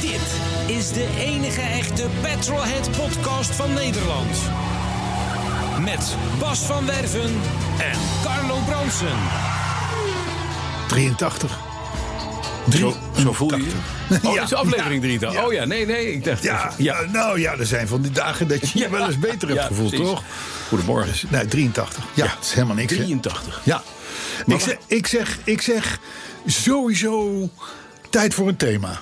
Dit is de enige echte Petrolhead podcast van Nederland. Met Bas van Werven en Carlo Bronsen. Oh, 83. Zo, zo voel je je. Oh, Ja. dit is aflevering 3 dan. Ja. Oh ja, nee, nee. Ik dacht Ja, even- ja, nou ja, er zijn van die dagen dat je je wel eens beter hebt Ja, gevoeld, precies. toch? Dus, Goedemorgen. Nee, 83. Ja, Ja. het is helemaal niks. hè? 83. Ja. Ik Maar zeg, ik, zeg, ik zeg sowieso tijd voor een thema.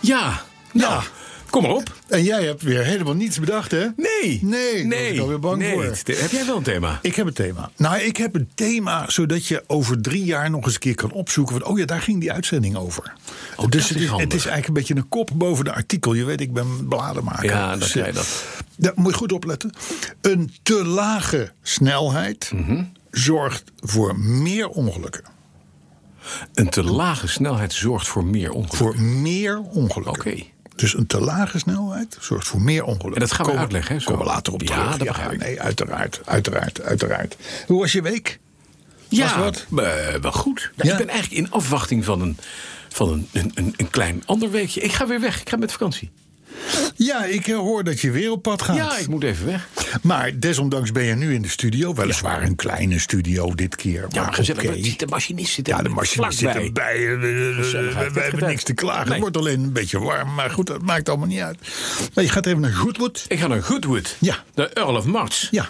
Ja. Nou, Ja. kom maar op. En jij hebt weer helemaal niets bedacht, hè? Nee. Nee, daar Nee. was ik alweer bang nee. voor. Te- Heb jij wel een thema? Ik heb een thema. Nou, ik heb een thema zodat je over drie jaar nog eens een keer kan opzoeken. Want, oh ja, daar ging die uitzending over. Oh, dat dus is het, is, handig. het is eigenlijk een beetje een kop boven de artikel. Je weet, ik ben bladenmaker. Ja, dat Dus, zei eh, dat. Daar moet je goed opletten. Een te lage snelheid Mhm. zorgt voor meer ongelukken. Een te lage snelheid zorgt voor meer ongelukken. Voor meer ongelukken. Oké. Dus een te lage snelheid zorgt voor meer ongelukken. En dat gaan we Komen- uitleggen, hè, zo. Komen we later op Ja, terug. dat begrijp ik. Nee, uiteraard, uiteraard, uiteraard. Hoe was je week? Was wat? eh, wel goed. Ja. Ik ben eigenlijk in afwachting van, een, van een, een, een, een klein ander weekje. Ik ga weer weg. Ik ga met vakantie. Ja, ik eh, hoor dat je weer op pad gaat. Ja, ik moet even weg. Maar desondanks ben je nu in de studio. Weliswaar een kleine studio dit keer. Ja, maar gezellig. Ah, oké. want De machinist zit er Ja, de machine zit vlakbij. erbij. We- We we- we- we hebben Gezelligheid. niks te klagen. Nee. Het wordt alleen een beetje warm. Maar goed, dat maakt allemaal niet uit. Maar je gaat even naar Goodwood. Ik ga naar Goodwood. Ja. De Earl of March. Ja,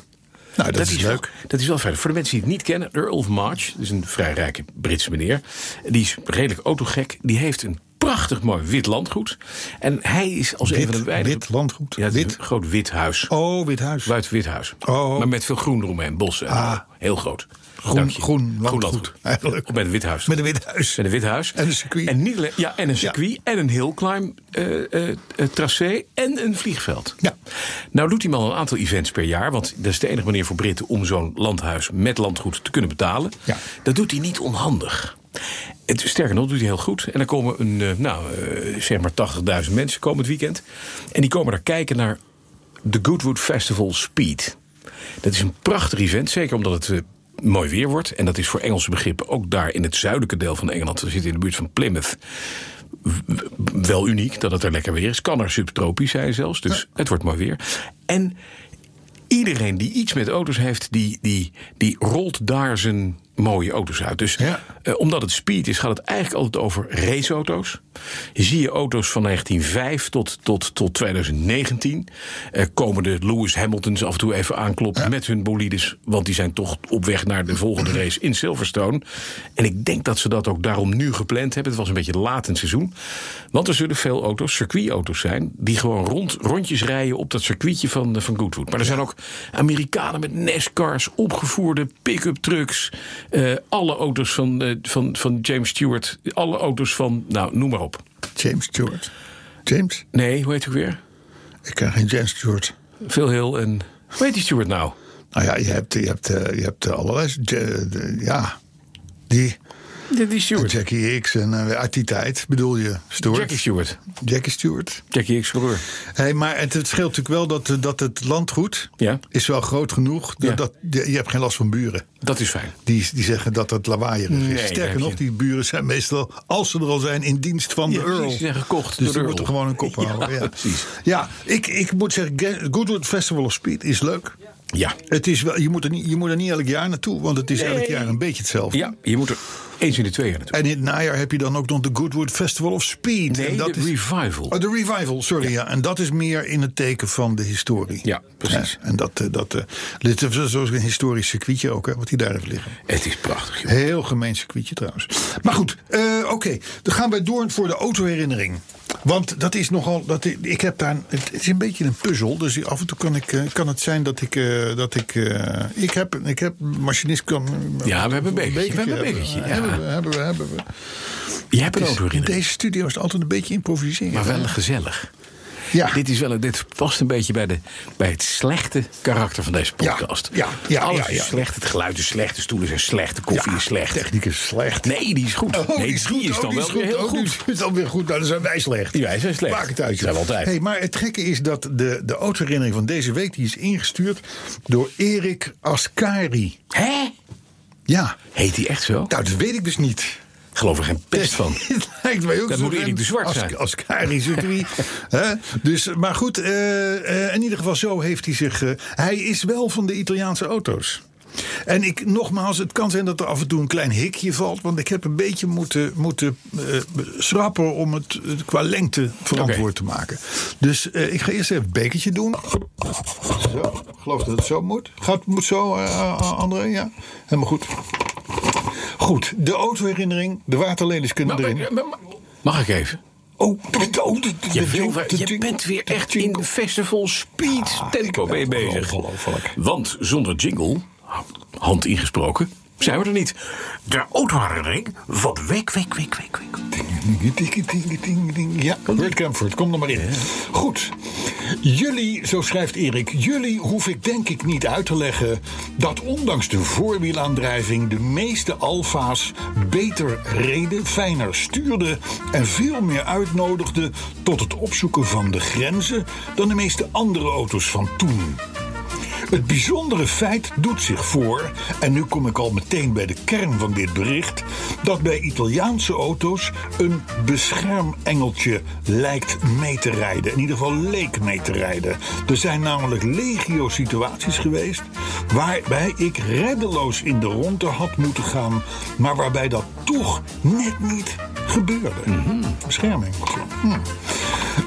nou, dat, is, leuk. Wel, dat is wel verder. Voor de mensen die het niet kennen, de Earl of March, dus een vrij rijke Britse meneer. Die is redelijk autogek. Die heeft een prachtig mooi wit landgoed. En hij is als een Wit- van de weinigen. wit landgoed? Ja, het is Wit? een groot wit huis. Oh, Wit Huis. Buiten wit huis. Oh. Maar met veel groen eromheen, bossen. en Ah. zo. Heel groot. Groen- Dank je. groen landgoed, eigenlijk. Of met een wit huis. Met een Wit Huis. Met een wit huis. En een circuit. En, niet alleen- ja, en een circuit. En een hillclimb eh, eh, eh, tracé. En een vliegveld. Ja. Nou doet die man een aantal events per jaar. Want dat is de enige manier voor Britten om zo'n landhuis met landgoed te kunnen betalen. Ja. Dat doet hij niet onhandig. Het, sterker nog, doet hij heel goed. En dan komen een, eh, nou, eh, zeg maar 80.000 mensen komend weekend. En die komen daar kijken naar de Goodwood Festival Speed. Dat is een prachtig event, zeker omdat het eh, mooi weer wordt. En dat is voor Engelse begrippen ook daar in het zuidelijke deel van Engeland. We zitten in de buurt van Plymouth. W- w- Wel uniek dat het er lekker weer is. Kan er subtropisch zijn zelfs, dus het wordt mooi weer. En iedereen die iets met auto's heeft, die, die, die rolt daar zijn mooie auto's uit. Dus Ja. eh, omdat het speed is, gaat het eigenlijk altijd over raceauto's. Je Zie je auto's van 1905 tot, tot, tot 2019. Eh, komen de Lewis Hamiltons af en toe even aankloppen met hun bolides. Want die zijn toch op weg naar de volgende race in Silverstone. En ik denk dat ze dat ook daarom nu gepland hebben. Het was een beetje laat in het seizoen. Want er zullen veel auto's, circuitauto's zijn... die gewoon rond, rondjes rijden op dat circuitje van, eh, van Goodwood. Maar er zijn ook Amerikanen met NASCAR's, opgevoerde pick-up trucks... eh, alle auto's van, eh, van, van James Stewart, alle auto's van... nou, noem maar op. James Stewart. James? Nee, hoe heet hij ook weer? Ik ken geen James Stewart. Phil Hill en... Hoe heet die Stewart nou? Nou ja, je hebt, je hebt, eh, je hebt eh, allerlei... Ja, de- Ja, die... Die, die Stewart. Jackie X en eh, uit die tijd bedoel je, Stewart? Jackie Stewart. Jackie Stewart. Jackie X. Broer. Hey, maar het, het scheelt natuurlijk wel dat, eh, dat het landgoed Ja. is wel groot genoeg. Dat, Ja. dat- je je hebt geen last van buren. Dat is fijn. Die, die zeggen dat het lawaaierig Nee, is. daar heb Sterker je nog, een- die buren zijn meestal, als ze er al zijn, in dienst van de precies, Earl. die zijn gekocht Dus door de die moeten Earl. gewoon een kop houden. Ja, precies. Ja, ik, ik moet zeggen, Ge- Goodwood Festival of Speed is leuk. Ja. Het is wel, je, moet er niet, je moet er niet elk jaar naartoe, want het is elk jaar een beetje hetzelfde. Ja, je moet er eens in de twee jaar naartoe. En in het najaar heb je dan ook nog de Goodwood Festival of Speed. Nee, en dat de is, revival. Oh, de revival, sorry. Ja. En dat is meer in het teken van de historie. Ja, precies. en dat, eh, dat, eh, dit is zoals een historisch circuitje ook, hè, wat die daar heeft liggen. Het is prachtig, joh. Heel gemeen circuitje trouwens. Maar goed, eh, oké. Dan gaan wij door voor de autoherinnering. Want dat is nogal. Dat, i- ik heb daar. een- Het is een beetje een puzzel. Dus af en toe kan, ik, eh, kan het zijn dat ik. eh, dat ik, eh, ik, heb, ik heb. Machinist kan. Ja, we hebben een bekertje, we hebben een bekertje, eh, ja. Hebben we, hebben we, hebben we. Je hebt een Het is- auto in deze studio is het altijd een beetje improviseren. Maar wel gezellig. Ja. Dit, is wel, een- dit past een beetje bij, de, bij het slechte karakter van deze Ja, podcast. ja, ja, Alles ja, ja. is slecht. Het geluid is slecht. De stoelen zijn slecht. De koffie Ja, is slecht. Techniek is slecht. Nee, die is goed. Oh, nee, die is goed. is oh, dan die wel is weer heel Oh, die goed. is dan weer goed. Nou, dan zijn wij slecht. Ja, wij zijn slecht. Maakt het uit. Zijn we altijd. Hey, maar het gekke is dat de, de autoherinnering van deze week... die is ingestuurd door Erik Ascari. Hè? Ja, Heet die echt zo? nou, dat weet ik dus niet. Geloof er geen pest van. Het lijkt mij ook Dat zo moet Erik een de Zwart As- zijn. Ascari circuit. Hè? dus, maar goed, eh, eh, in ieder geval zo heeft hij zich... eh, hij is wel van de Italiaanse auto's. En ik, nogmaals, het kan zijn dat er af en toe een klein hikje valt. Want ik heb een beetje moeten, moeten eh, schrappen om het eh, qua lengte verantwoord te maken. Dus eh, ik ga eerst even een bekertje doen. Zo, ik geloof dat het zo moet. Gaat moet zo, eh, eh, André? Ja, helemaal goed. Goed, de autoherinnering, de waterlelies kunnen Nou, erin. eh, Mag ik even? Oh, oh, oh, de- de- Je, de- wil wel- de- je de- bent weer de- echt de- in festival speed tempo mee bezig. ongelooflijk. Want zonder jingle, hand ingesproken, zijn we er niet. De autoherinnering van week, week, week, week, week. Ding, ding, ding, ding, ding. Ja, Bert Camford, kom er maar in. Goed. Jullie, zo schrijft Erik, jullie hoef ik denk ik niet uit te leggen... dat ondanks de voorwielaandrijving de meeste Alfa's beter reden, fijner stuurden... en veel meer uitnodigden tot het opzoeken van de grenzen... dan de meeste andere auto's van toen. Het bijzondere feit doet zich voor, en nu kom ik al meteen bij de kern van dit bericht, dat bij Italiaanse auto's een beschermengeltje lijkt mee te rijden. In ieder geval leek mee te rijden. Er zijn namelijk legio-situaties geweest waarbij ik reddeloos in de ronde had moeten gaan, maar waarbij dat toch net niet gebeurde. Beschermengeltje. Hm.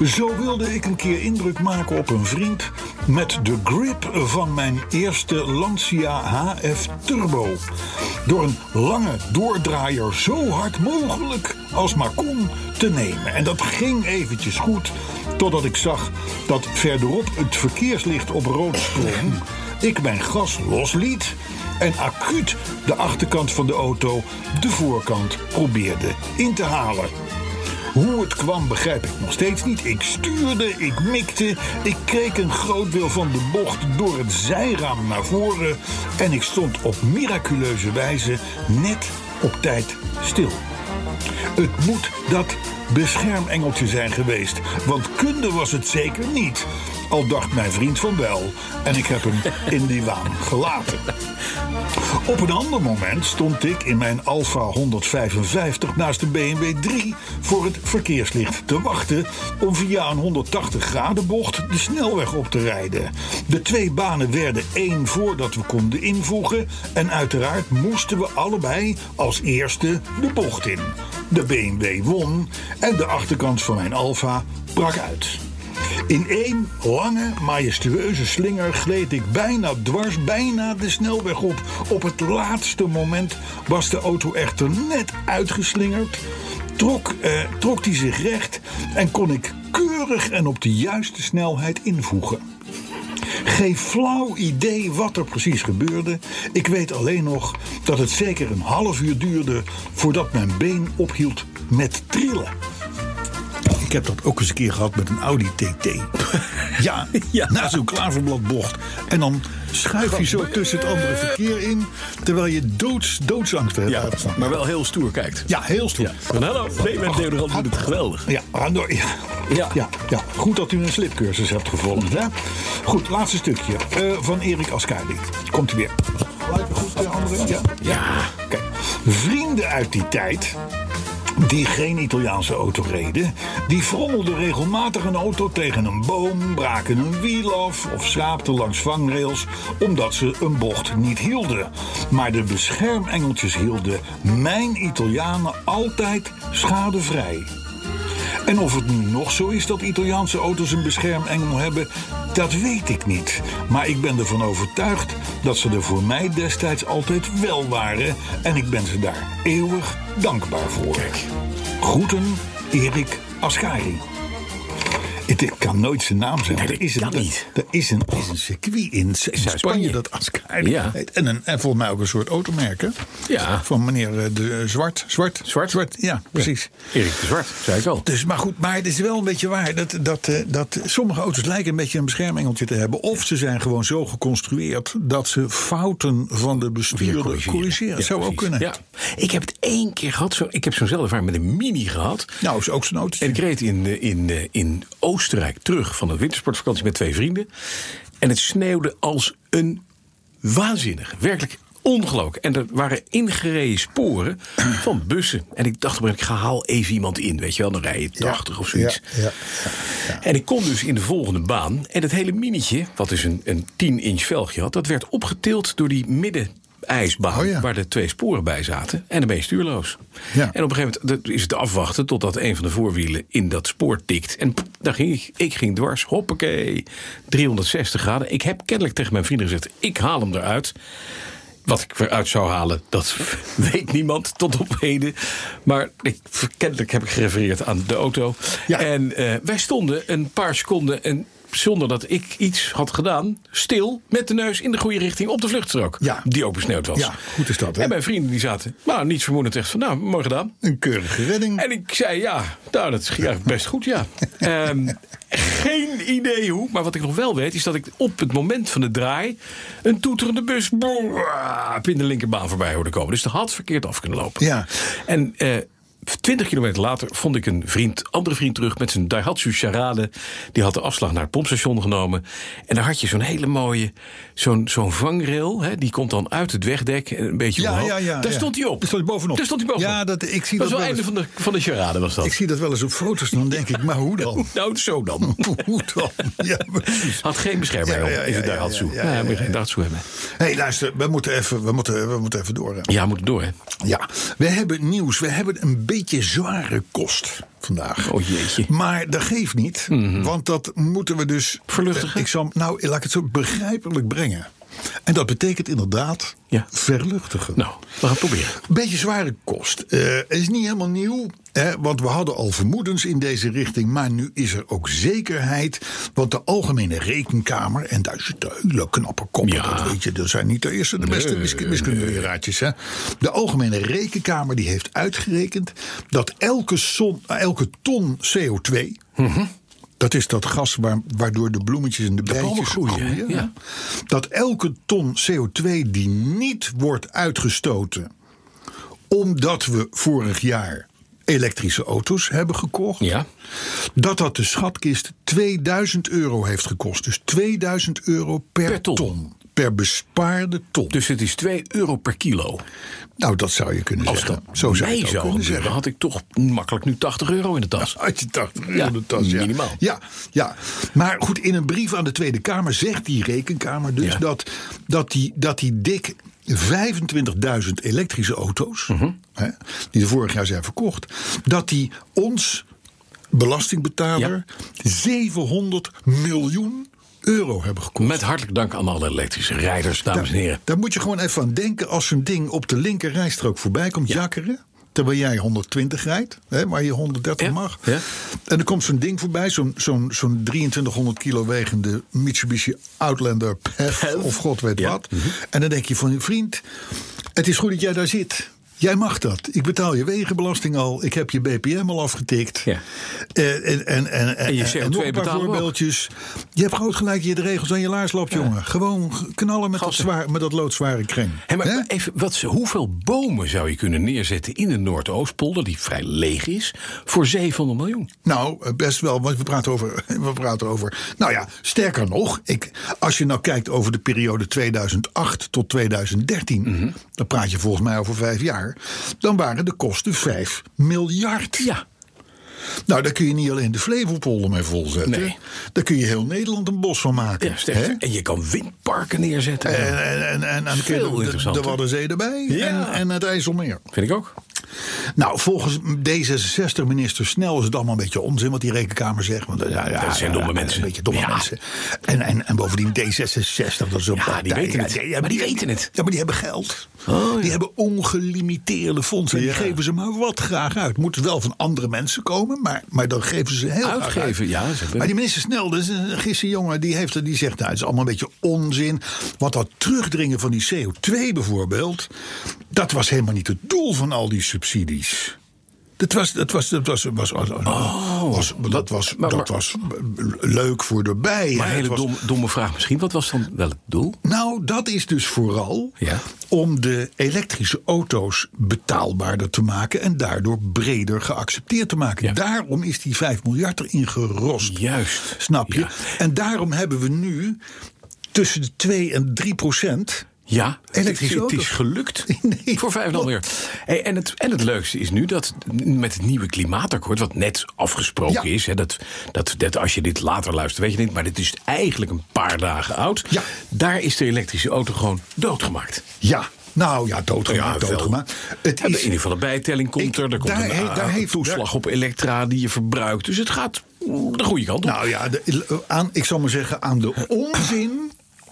Zo wilde ik een keer indruk maken op een vriend met de grip van mijn eerste Lancia HF Turbo. Door een lange doordraaier zo hard mogelijk als maar kon te nemen. En dat ging eventjes goed, totdat ik zag dat verderop het verkeerslicht op rood sprong. Ik mijn gas losliet en acuut de achterkant van de auto de voorkant probeerde in te halen. Hoe het kwam begrijp ik nog steeds niet. Ik stuurde, ik mikte, ik kreeg een groot deel van de bocht door het zijraam naar voren en ik stond op miraculeuze wijze net op tijd stil. Het moet dat beschermengeltje zijn geweest, want kunde was het zeker niet. Al dacht mijn vriend van wel en ik heb hem in die waan gelaten. Op een ander moment stond ik in mijn Alfa 155 naast de BMW 3 voor het verkeerslicht te wachten om via een 180 graden bocht de snelweg op te rijden. De twee banen werden één voordat we konden invoegen en uiteraard moesten we allebei als eerste de bocht in. De BMW won en de achterkant van mijn Alfa brak uit. In één lange, majestueuze slinger gleed ik bijna dwars, bijna de snelweg op. Op het laatste moment was de auto echter net uitgeslingerd. Trok, eh, trok die zich recht en kon ik keurig en op de juiste snelheid invoegen. Geen flauw idee wat er precies gebeurde. Ik weet alleen nog dat het zeker een half uur duurde voordat mijn been ophield met trillen. Ik heb dat ook eens een keer gehad met een Audi TT. Ja, na zo'n klaverbladbocht. En dan schuif je zo tussen het andere verkeer in... terwijl je doods, doodsangst hebt. Ja, maar wel heel stoer kijkt. ja heel stoer. Ja. Van hallo, nee, mijn deodorant doet het geweldig. Ja, ah, nou, ja. Ja. Ja. Ja, goed dat u een slipcursus hebt gevolgd. Hè? Goed, laatste stukje eh, van Erik Ascari. Komt u weer. Lijkt me goed, de andere? Ja. Ja. Kijk, vrienden uit die tijd. Die geen Italiaanse auto reden, die frommelden regelmatig een auto tegen een boom, braken een wiel af of schraapten langs vangrails omdat ze een bocht niet hielden. Maar de beschermengeltjes hielden mijn Italianen altijd schadevrij. En of het nu nog zo is dat Italiaanse auto's een beschermengel hebben, dat weet ik niet. Maar ik ben ervan overtuigd dat ze er voor mij destijds altijd wel waren. En ik ben ze daar eeuwig dankbaar voor. Groeten, Erik Ascari. Het, ik kan nooit zijn naam zeggen. Nee, dat Er is een- kan er- niet. Er is een, is een circuit in, in Spanje, Spanje. dat Asca Ja. heet. En, een, en volgens mij ook een soort automerk. hè? Ja. Van meneer eh, de, eh, Zwart. Zwart. Zwart? ja, precies. Erik de Zwart, zei ik al. Dus, maar goed, maar het is wel een beetje waar dat, dat, eh, dat sommige auto's lijken een beetje een beschermengeltje te hebben. Of ze zijn gewoon zo geconstrueerd dat ze fouten van de bestuurder corrigeren. Ja, Zou ook precies. kunnen. Ja. Ik heb het één keer gehad. Zo, ik heb zo'nzelfde ervaring met een mini gehad. Nou, is ook zo'n En auto. ik reed in, eh, in, eh, in Oostenrijk terug van een wintersportvakantie met twee vrienden. En het sneeuwde als een waanzinnige. Werkelijk ongelooflijk. En er waren ingereden sporen van bussen. En ik dacht, op een gegeven moment, ik ga haal even iemand in. Weet je wel, dan rij je 80 of zoiets. ja. En ik kom dus in de volgende baan. En het hele minietje, wat dus een, een 10-inch velgje had, dat werd opgetild door die midden. IJsbaan, Oh ja. waar de twee sporen bij zaten. En dan ben je stuurloos. Ja. En op een gegeven moment dat is het afwachten totdat een van de voorwielen in dat spoor tikt. En pff, daar ging ik. Ik ging dwars. Hoppakee. 360 graden. Ik heb kennelijk tegen mijn vrienden gezegd: ik haal hem eruit. Wat ik eruit zou halen, dat weet niemand tot op heden. Maar ik, kennelijk heb ik gerefereerd aan de auto. Ja. En eh, wij stonden een paar seconden, en zonder dat ik iets had gedaan, stil met de neus in de goede richting op de vluchtstrook. Ja. Die ook besneeuwd was. Ja, goed is dat, hè? En mijn vrienden die zaten, nou, niets vermoedend echt van, nou, mooi gedaan. Een keurige redding. En ik zei ja, nou dat ging eigenlijk best goed, ja. Ehm, geen idee hoe, maar wat ik nog wel weet is dat ik op het moment van de draai een toeterende bus boep, in de linkerbaan voorbij hoorde komen. Dus dat had verkeerd af kunnen lopen. Ja. En eh 20 kilometer later vond ik een vriend, andere vriend terug met zijn Daihatsu Charade. Die had de afslag naar het pompstation genomen. En daar had je zo'n hele mooie, zo'n zo'n vangrail. Hè, die komt dan uit het wegdek, en een beetje Ja, omhoog. ja, ja. daar ja. stond hij op. Daar stond hij bovenop. Daar stond hij bovenop. Ja, dat, ik zie Dat dat, was wel wel einde eens, van de, van de charade, was dat. ik zie dat wel eens op foto's. Dan denk ik, maar hoe dan? Nou, zo dan. hoe dan? Ja, precies. Had geen bescherming eh, Ja, om, ja, ja, is het ja, daar had ja, zoe. ja, Ja, ja, moet je ja, geen daadsoe hebben. hey, luister, we moeten even, we moeten, we moeten even door. hè. Ja, moet het door, hè? Ja, we hebben nieuws. We hebben een beetje zware kost vandaag. Oh, jeetje. Mhm. Maar dat geeft niet, want dat moeten we dus. Verluchtigen? Ik zal, nou, laat ik het zo begrijpelijk brengen. En dat betekent inderdaad Ja. verluchtigen. Nou, we gaan het proberen. Beetje zware kost. Eh, Het is niet helemaal nieuw, hè, want we hadden al vermoedens in deze richting. Maar nu is er ook zekerheid. Want de Algemene Rekenkamer, en daar zitten hele knappe koppen, Ja. dat weet je. Dat zijn niet de eerste, de beste wiskunde wiskundeleeraartjes. hè. De Algemene Rekenkamer die heeft uitgerekend dat elke, son, eh, elke ton CO2... Mhm. Dat is dat gas waar- waardoor de bloemetjes en de, palmen bijtjes groeien, hè? groeien. hè. Ja. Dat elke ton CO2 die niet wordt uitgestoten omdat we vorig jaar elektrische auto's hebben gekocht, Ja. dat dat de schatkist 2000 euro heeft gekost. Dus 2000 euro per, Per ton. ton. Per bespaarde ton. Dus het is 2 euro per kilo. nou, dat zou je kunnen Als dat zeggen. Zo zou je mij het ook zou kunnen gebeuren, zeggen. had ik toch makkelijk nu 80 euro in de tas. Had je 80 euro Ja, in de tas, ja. minimaal. Ja, ja, maar goed, in een brief aan de Tweede Kamer zegt die rekenkamer dus Ja. dat, dat, die, dat die dik 25.000 elektrische auto's, Mhm. hè, die er vorig jaar zijn verkocht, dat die ons belastingbetaler 700 miljoen euro hebben gekost. Met hartelijk dank aan alle elektrische rijders, dames en heren. Daar moet je gewoon even aan denken als zo'n ding op de linker rijstrook voorbij komt jakkeren. Terwijl jij 120 rijdt, hè, maar je 130 Ja, mag. ja. En er komt zo'n ding voorbij, zo'n zo'n zo'n 2300 kilo wegende Mitsubishi Outlander PHEV of god weet Ja. Mhm. wat. En dan denk je van je vriend, het is goed dat jij daar zit. Jij mag dat. Ik betaal je wegenbelasting al. Ik heb je BPM al afgetikt. Ja. Eh, en, en, en, En je en- en CO2 nog een paar betalen we ook. voorbeeldjes. Je hebt groot gelijk je de regels aan je laars loopt, jongen. Gewoon knallen met, dat, Gassen. zwaar, met dat loodzware kreng. Hé, maar Hè? even, wat, ze- hoeveel bomen zou je kunnen neerzetten in de Noordoostpolder, die vrij leeg is, voor 700 miljoen? Nou, eh, best wel, want we praten over. We praten over nou ja, sterker nog, ik, als je nou kijkt over de periode 2008 tot 2013, Mhm. dan praat je volgens mij over vijf jaar, dan waren de kosten 5 miljard. Ja, Nou, daar kun je niet alleen de Flevopolder mee volzetten. Nee. Daar kun je heel Nederland een bos van maken. ja sterk. hè? Eh. En je kan windparken neerzetten. En, en, en, en, en dan kun je Veel de- de, de interessanter. Waddenzee erbij Ja. en, en het IJsselmeer. Vind ik ook. Nou, volgens D66-minister Snel is het allemaal een beetje onzin wat die rekenkamer zegt. Want, eh, ja, ja, Dat zijn domme ja, mensen. Een beetje domme Ja. mensen. En, en, en bovendien D66, dat is een partij. die weten het. ja, Maar die weten het. Ja, maar die hebben geld. Oh, ja. Die hebben ongelimiteerde fondsen. En die geven ze maar wat graag uit. Moet wel van andere mensen komen, maar, maar dan geven ze heel graag uit. Uitgeven, ja. zeg maar. Maar die minister Snel, dus een gisteren jongen, die, heeft, er- die zegt: nou, het is allemaal een beetje onzin. Want dat terugdringen van die CO2 bijvoorbeeld, dat was helemaal niet het doel van al die subsidies. Dat was, dat was, dat was, was, was, was- dat was, Oh. maar- dat was leuk voor de bijen. Maar een Het hele was- domme, domme vraag misschien. Wat was dan wel het doel? nou, dat is dus vooral Ja. om de elektrische auto's betaalbaarder te maken en daardoor breder geaccepteerd te maken. Ja. Daarom is die 5 miljard erin gerost. Juist. Snap je? Ja. En daarom hebben we nu tussen de 2 en 3 procent. Ja, Elektrische het, het auto's. is gelukt. Nee. Voor 5,5 miljard. Hey, en, het, en het leukste is nu dat met het nieuwe klimaatakkoord, wat net afgesproken Ja. is, hè, dat, dat, dat als je dit later luistert, weet je niet, maar dit is eigenlijk een paar dagen oud. Ja. Daar is de elektrische auto gewoon doodgemaakt. Ja, nou ja, Ja, doodgemaakt. wel. doodgemaakt. Het En in is, ieder geval een bijtelling komt Ik- er. Er komt daar een he- daar eh, heeft- toeslag daar- op elektra die je verbruikt. Dus het gaat de goede kant op. nou ja, de, aan, ik zal maar zeggen, aan de onzin.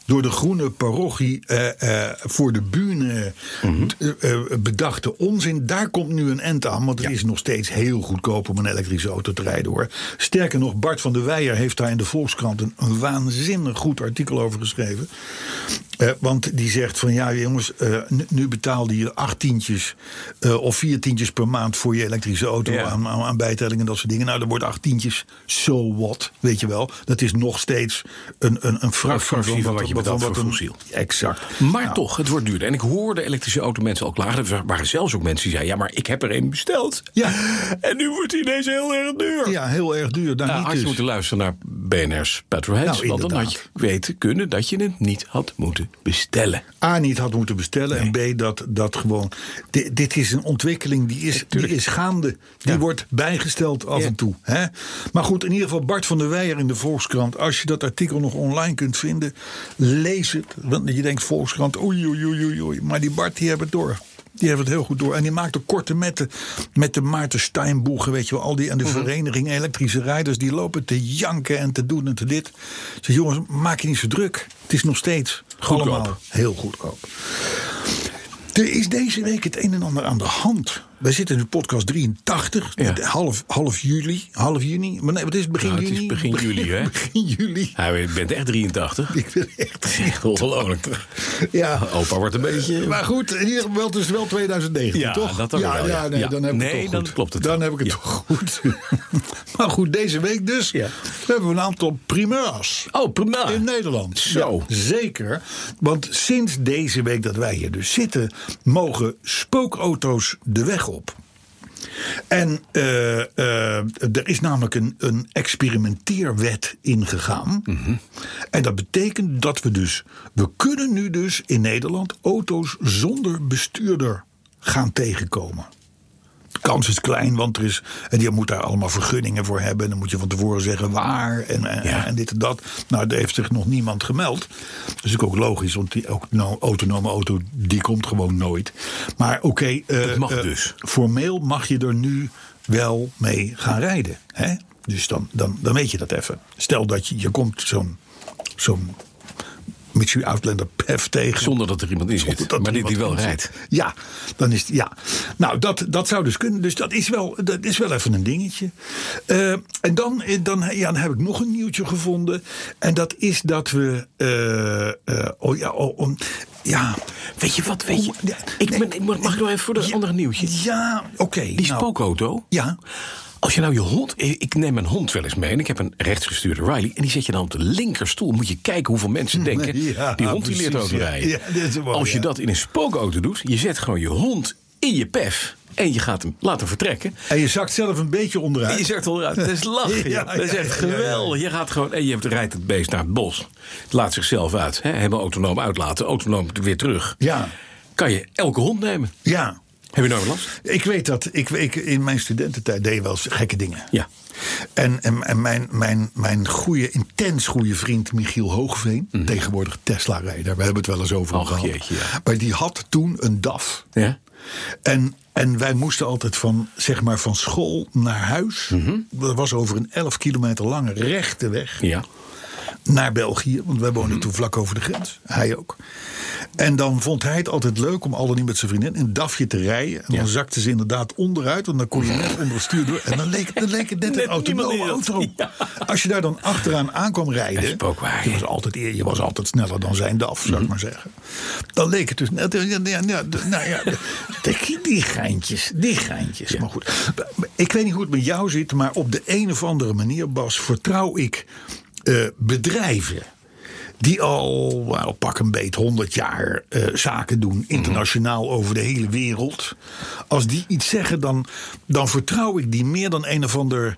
Door de groene parochie eh, eh, voor de bühne Mhm. t- eh, eh, bedachte onzin. Daar komt nu een end aan. Want het is nog steeds heel goedkoop om een elektrische auto te rijden hoor. Sterker nog, Bart van der Weijer heeft daar in de Volkskrant een, een waanzinnig goed artikel over geschreven. Eh, want die zegt van ja, jongens, eh, nu- nu betaalde je acht tientjes eh, of vier tientjes per maand voor je elektrische auto Ja. aan, aan, aan bijtelling en dat soort dingen. Nou, dan wordt acht tientjes, so what, weet je wel. Dat is nog steeds een, een, een fractie, fractie van wat je betaalt voor een- fossiel. Exact. Maar toch, het wordt duurder. En ik hoorde elektrische automensen al klagen. Er waren zelfs ook mensen die zeiden: ja, maar ik heb er een besteld. Ja. En nu wordt hij ineens heel erg duur. Ja, heel erg duur. Daar Nou, niet had je dus. moeten luisteren naar BNR's Petroheads. Nou, want dan had je inderdaad. weten kunnen dat je het niet had moeten bestellen. A niet had moeten bestellen en B dat, dat gewoon. Di- dit is een ontwikkeling die is, die is gaande. Die Ja. wordt bijgesteld af Ja. en toe. Hè? Maar goed, in ieder geval Bart van der Weijer in de Volkskrant. Als je dat artikel nog online kunt vinden, lees het. Want je denkt Volkskrant, oei oei oei oei. oei. Maar die Bart die hebben het door. Die hebben het heel goed door. En die maakte korte metten met de Maarten Steinboegen, weet je wel. Al die en de Mhm. vereniging elektrische rijders, die lopen te janken en te doen en te dit. Ik Zeg jongens, maak je niet zo druk. Het is nog steeds Goedkoop. allemaal heel goedkoop. Er is deze week het een en ander aan de hand. Wij zitten in de podcast 83, Ja. half, half juli, half juni. Maar nee, wat is het begin Nou, het juni? is begin juli, hè? Begin juli. Hij Nou, je bent echt 83. Ik ben echt... Ongelooflijk. Ja. Opa wordt een beetje. Maar goed, in ieder geval, het is wel 2019, Ja, toch? dat dan ja, wel, ja. nee, Ja. dan heb ik Nee, het toch dan goed. klopt het Dan wel. heb ik het Ja. toch goed. maar goed, deze week dus Ja. hebben we een aantal primeurs. Oh, prima. In Nederland. Zo. Ja, zeker. Want sinds deze week dat wij hier dus zitten, mogen spookauto's de weg op. En eh, eh, er is namelijk een, een experimenteerwet ingegaan. En dat betekent dat we dus. We kunnen nu dus in Nederland auto's zonder bestuurder gaan tegenkomen. De kans is klein, want er is, en je moet daar allemaal vergunningen voor hebben. En dan moet je van tevoren zeggen waar en, en, Ja. en dit en dat. Nou, daar heeft zich nog niemand gemeld. Dat is natuurlijk ook logisch, want die ook, nou, autonome auto die komt gewoon nooit. Maar oké. eh, Dat mag eh, dus. Formeel mag je er nu wel mee gaan rijden. Hè? Dus dan, dan, dan weet je dat even. Stel dat je, je komt zo'n zo'n Mitsubishi Outlander PEF tegen. Zonder dat er iemand in Zonder zit. dat er Maar dit die wel iemand in rijdt. zit. Ja, dan is het- ja. Nou, dat, dat zou dus kunnen. Dus dat is wel, dat is wel even een dingetje. Eh, en dan, eh, dan, ja, dan heb ik nog een nieuwtje gevonden. En dat is dat we. eh, eh, oh ja, oh, om- ja. Weet je wat? Weet je, Hoe- ja, ik nee. ben, ik mag mag ik nog even voor dat Ja, andere nieuwtje? Ja, oké. Die nou, spookauto. Ja. Als je nou je hond. Ik neem mijn hond wel eens mee. En ik heb een rechtsgestuurde Riley. En die zet je dan op de linkerstoel. Moet je kijken hoeveel mensen denken. Ja, die hond die precies, leert auto ja. rijden. Ja, dit is mooi, Als je ja. dat in een spookauto doet. Je zet gewoon je hond in je pef. En je gaat hem laten vertrekken. En je zakt zelf een beetje onderuit. En je zegt al eruit. Dat is lachen. Ja, joh. dat is ja, echt ja, ja, ja. geweldig. Je gaat gewoon. En je rijdt het beest naar het bos. Het laat zichzelf uit. Hè, helemaal autonoom uitlaten. Autonoom weer terug. Ja. Kan je elke hond nemen. Ja. Heb je nou last? Ik weet dat. Ik, ik, in mijn studententijd deed je wel eens gekke dingen. Ja. En, en, en mijn, mijn, mijn goede, intens goede vriend Michiel Hoogveen, tegenwoordig Tesla-rijder, we hebben het wel eens over hem Mhm. Och, gehad. jeetje, ja. Maar die had toen een DAF. Ja. En, en wij moesten altijd van, zeg maar, van school naar huis. Dat was over een 11 kilometer lange rechte weg Mhm. Ja. Mhm. naar België. Want wij woonden toen vlak over de grens. Hij ook. En dan vond hij het altijd leuk om al dan niet met zijn vriendin een dafje te rijden. En dan zakte ze inderdaad onderuit. Want dan kon je net onder het stuur door. En dan leek, dan leek het net, Net een autonome niemand die auto. dat- Ja. Als je daar dan achteraan aan kwam rijden. Spookwagen. Je was altijd, eer- je was altijd sneller dan zijn DAF, zou ik maar zeggen. Dan leek het dus net. Ja, ja, ja, de- nou ja, de- de- die geintjes, die geintjes. Maar goed, ik weet niet hoe het met jou zit, maar op de een of andere manier, Bas, vertrouw ik eh, bedrijven. Die al wel, pak een beet 100 jaar eh, zaken doen, internationaal over de hele wereld. Als die iets zeggen, dan, dan vertrouw ik die meer dan een of ander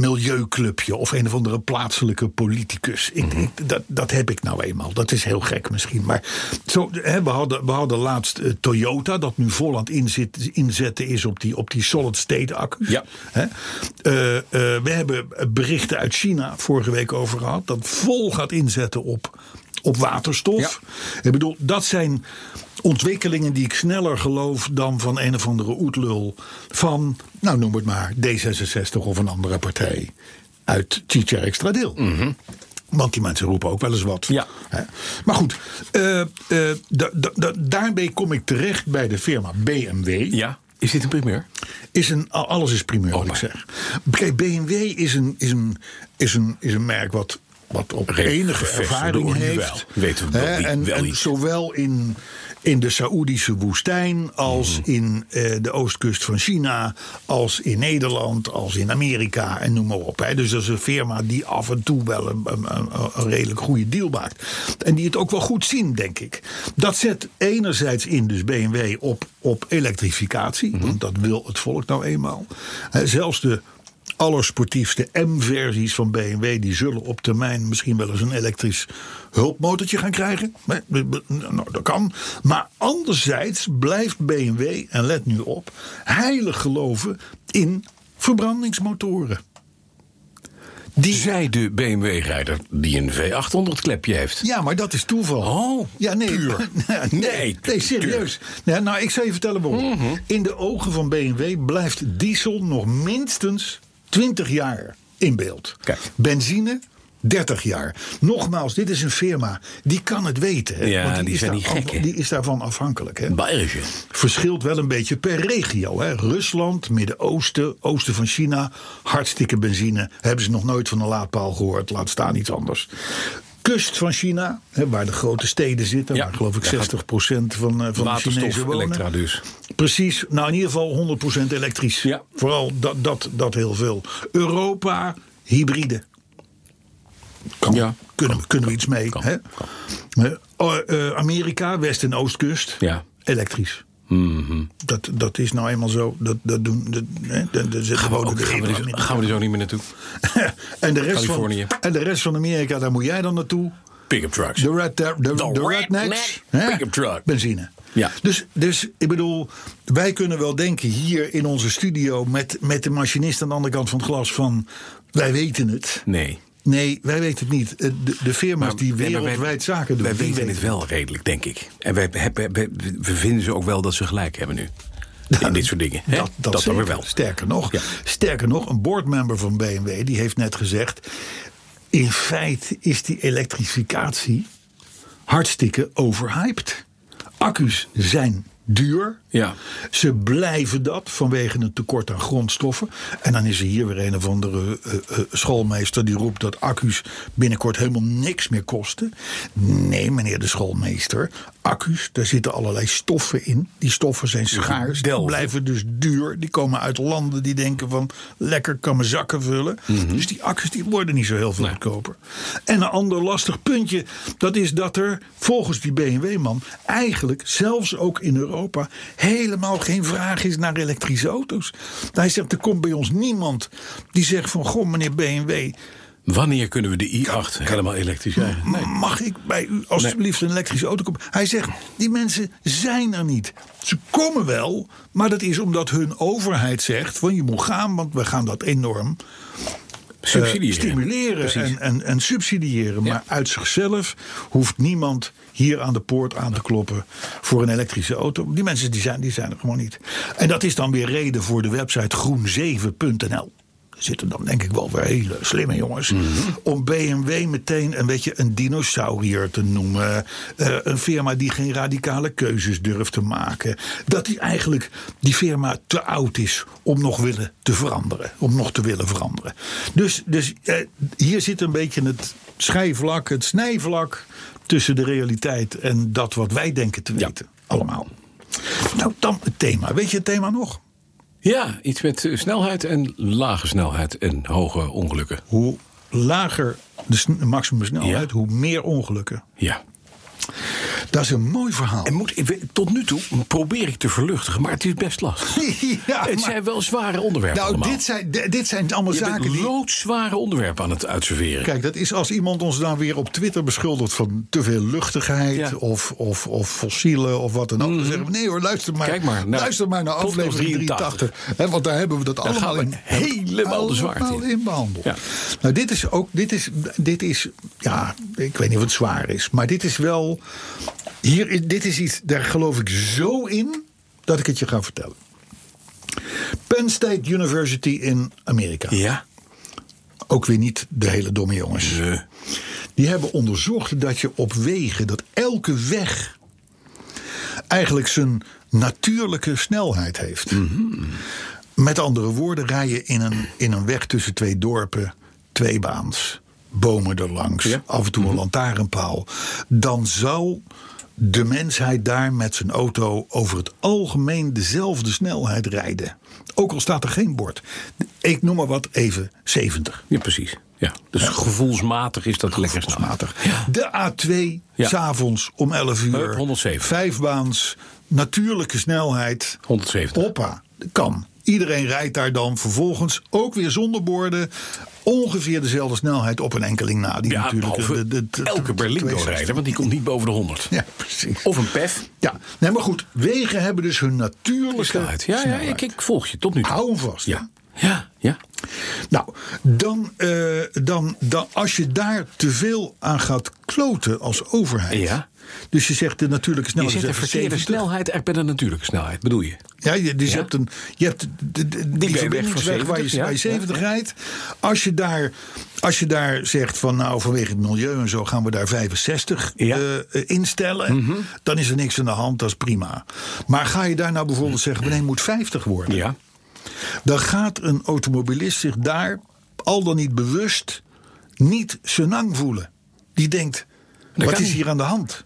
milieuclubje of een of andere plaatselijke politicus. Ik, ik- dat, dat heb ik nou eenmaal. Dat is heel gek misschien. Maar zo, hè, we, hadden, we hadden laatst eh, Toyota, dat nu vol aan het inzit- inzetten is op die, op die solid-state accu's. Ja. Hè? Eh, eh, we hebben berichten uit China vorige week over gehad. Dat vol gaat inzetten op, op waterstof. Ik bedoel, dat zijn ontwikkelingen die ik sneller geloof dan van een of andere oetlul. Van, nou noem het maar, D66 of een andere partij uit Chichar Extra Deel. Want die mensen roepen ook wel eens wat. Ja. Hè? Maar goed, eh, eh, da- da- da- daarmee kom ik terecht bij de firma BMW ja. Is dit een primeur? is een, al- alles is primeur, wat Opa. ik zeg. Kijk, BMW is een, is een, is een, is een merk wat, wat op Redelijk enige gevestigd ervaring door nu heeft. wel. Weten we wel Hè, wie- en, wel en iets. zowel in, in de Saoedische woestijn als Mhm. in eh, de oostkust van China, als in Nederland, als in Amerika en noem maar op. Hè. Dus dat is een firma die af en toe wel een, een, een- een redelijk goede deal maakt. En die het ook wel goed zien, denk ik. Dat zet enerzijds in, dus BMW, op, op elektrificatie. Mhm. Want dat wil het volk nou eenmaal. Hè, zelfs de allersportiefste M-versies van BMW... die zullen op termijn misschien wel eens een elektrisch hulpmotortje gaan krijgen. Maar, b- b- Nou, dat kan. Maar anderzijds blijft BMW, en let nu op... heilig geloven in verbrandingsmotoren. Die... Zij de BMW-rijder die een V800-klepje heeft. Ja, maar dat is toeval. Oh, ja, nee, puur. nee, Nee, nee, puur. Mhm. serieus. Nou, nou, ik zal je vertellen waarom. In de ogen van BMW blijft diesel nog minstens 20 jaar in beeld. Kijk. Benzine 30 jaar. Nogmaals, dit is een firma. Die kan het weten. hè, Ja, want die is zijn daar niet gek, af- hè? Die is daarvan afhankelijk. Hè? Bayerische. verschilt wel een beetje per regio. Hè. Rusland, Midden-Oosten, oosten van China, hartstikke benzine. Hebben ze nog nooit van een laadpaal gehoord, laat staan iets anders. Kust van China, hè, waar de grote steden zitten, Ja, waar geloof ik daar gaat 60% van, eh, van de Waterstof, Chinezen wonen. elektra dus. Precies, nou in ieder geval 100% elektrisch. Ja. Vooral dat, dat, dat heel veel. Europa, hybride. Kan, Ja. kunnen, we- kunnen we iets mee. Kan, hè? Eh, oh, eh, Amerika, West- en Oostkust, Ja. Mhm. elektrisch. Dat, dat is nou eenmaal zo. Dat, dat doen. Dat, hè, dat, dat zitten Gaan we, gewoon ook, de gaan, we regels dus, in. gaan we dus ook niet meer naartoe? en, de rest Californië. van, en de rest van Amerika, daar moet jij dan naartoe. Pick-up trucks. De, red, de, de, De de rednecks. redneck hè? pick-up truck. Benzine. Ja. Dus, dus ik bedoel, wij kunnen wel denken hier in onze studio met, met de machinist aan de andere kant van het glas van wij weten het. Nee. Nee, wij weten het niet. Eh, De, de firma's die Nee, maar wij- wereldwijd zaken doen. Wij die weten het wel redelijk, denk ik. En wij, hebben- we- we vinden ze ook wel dat ze gelijk hebben nu. In dit soort dingen. hè? Dat, dat, dan weer zeker. wel. Sterker nog, Ja. sterker nog, een boardmember van BMW die heeft net gezegd: in feite is die elektrificatie hartstikke overhyped. Accu's zijn duur. Ja. Ze blijven dat vanwege een tekort aan grondstoffen. En dan is er hier weer een of andere eh, eh, schoolmeester die roept dat accu's binnenkort helemaal niks meer kosten. Nee, meneer de schoolmeester. Accu's, daar zitten allerlei stoffen in. Die stoffen zijn schaars. Die delven. blijven dus duur. Die komen uit landen die denken van lekker kan mijn zakken vullen. Dus die accu's die worden niet zo heel veel goedkoper. En een ander lastig puntje, dat is dat er volgens die BMW-man eigenlijk zelfs ook in Europa helemaal geen vraag is naar elektrische auto's. Hij zegt er komt bij ons niemand die zegt van goh meneer BMW, Wanneer kunnen we de i8 helemaal elektrisch Mm, eh, krijgen? Mag ik bij u alstublieft een elektrische auto kopen? Hij zegt, die mensen zijn er niet. Ze komen wel, maar dat is omdat hun overheid zegt... van je moet gaan, want we gaan dat enorm Subsidiëren. eh, stimuleren en, en, en subsidiëren. Maar uit zichzelf hoeft niemand hier aan de poort aan te kloppen voor een elektrische auto. Die mensen die zijn, die zijn er gewoon niet. En dat is dan weer reden voor de website groen7.nl. Er zitten dan denk ik wel weer hele slimme jongens. Om BMW meteen een beetje een dinosaurier te noemen. Eh, een firma die geen radicale keuzes durft te maken. Dat die eigenlijk die firma te oud is om nog willen te veranderen. Om nog te willen veranderen. Dus, dus eh, hier zit een beetje het schijfvlak, het snijvlak tussen de realiteit en dat wat wij denken te weten. Allemaal. Nou, dan het thema. Weet je het thema nog? Ja, iets met eh, snelheid en lage snelheid en hoge ongelukken. hoe lager de sn- maximum snelheid, Ja. hoe meer ongelukken. Ja. Dat is een mooi verhaal. En moet, ik weet- tot nu toe probeer ik te verluchtigen, maar het is best lastig. Ja, het maar- zijn wel zware onderwerpen nou, allemaal. dit zijn, di- dit zijn allemaal Je zaken bent die... loodzware onderwerpen aan het uitserveren. Kijk, dat is als iemand ons dan weer op Twitter beschuldigt van te veel luchtigheid Ja. Mhm. of, of, of fossielen of wat dan ook. Dan zeggen we, nee hoor, luister maar, Kijk maar naar luister maar naar podcast aflevering 83. 83. Hè, want daar hebben we dat allemaal gaan we in, helemaal de zwaarte allemaal in. in behandeld. Ja. Nou, dit is ook, dit is, dit is, ja, ik weet niet of het zwaar is, maar dit is wel, hier, dit is iets, daar geloof ik zo in dat ik het je ga vertellen. Penn State University in Amerika. Ja. Ook weer niet de hele domme jongens. Eh, Die hebben onderzocht dat je op wegen, dat elke weg eigenlijk zijn natuurlijke snelheid heeft. Met andere woorden, rij je in een, in een weg tussen twee dorpen, twee baans, bomen erlangs, Ja. af en toe een lantaarnpaal. Dan zou de mensheid daar met zijn auto over het algemeen dezelfde snelheid rijden. Ook al staat er geen bord. Ik noem maar wat even 70 ja, precies. Ja. Dus gevoelsmatig is dat lekker snel. matig. De A2, Ja. s'avonds om 11 uur. Hup, 107. Vijfbaans, natuurlijke snelheid. 170. Hoppa, kan. Iedereen rijdt daar dan vervolgens ook weer zonder borden. Ongeveer dezelfde snelheid op een enkeling na. Die Ja, natuurlijk behalve de- de- de- elke de- Berlingo 62. rijder, want die komt niet boven de 100. Ja, precies. Of een PEF. Ja, nee, maar goed. Wegen hebben dus hun natuurlijke Snelheid. Ja, ja snelheid. ik, ik volg je tot nu toe. Hou hem vast. Ja. Ja, ja. Nou, dan, eh, dan, dan als je daar te veel aan gaat kloten als overheid. Ja. Dus je zegt de natuurlijke Je snelheid. zet de is even verkeerde 70. snelheid echt bij de natuurlijke snelheid, bedoel je? Ja, je, dus Ja. je hebt, een, je hebt de- de, de- die, ben je weg verbindingsweg van waar je, 70, waar je ja. 70 rijdt. Als je, daar, als je daar zegt van nou vanwege het milieu en zo gaan we daar 65 Ja. Mhm. eh, eh, instellen. Dan is er niks aan de hand, dat is prima. Maar ga je daar nou bijvoorbeeld zeggen nee het moet 50 worden. Ja. dan gaat een automobilist zich daar, al dan niet bewust, niet senang voelen. Die denkt, wat kan is niet. hier aan de hand?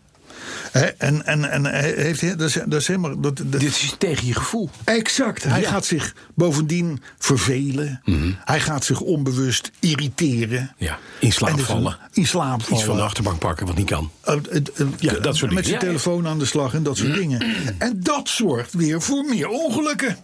Hè, en en, en hij heeft, dat is, dat is helemaal... Dat, dat- Dit is tegen je gevoel. Exact. Hij gaat zich bovendien vervelen. Hij gaat zich onbewust irriteren. Mhm. Ja, in slaap En dus- vallen. In slaap Iets van de vallen. achterbank pakken Oh, wat niet kan. Eh, eh, eh, Ja, dat soort met dingen. Ja, Mm. ja. zijn telefoon aan de slag en dat soort dingen. En dat zorgt weer voor meer ongelukken.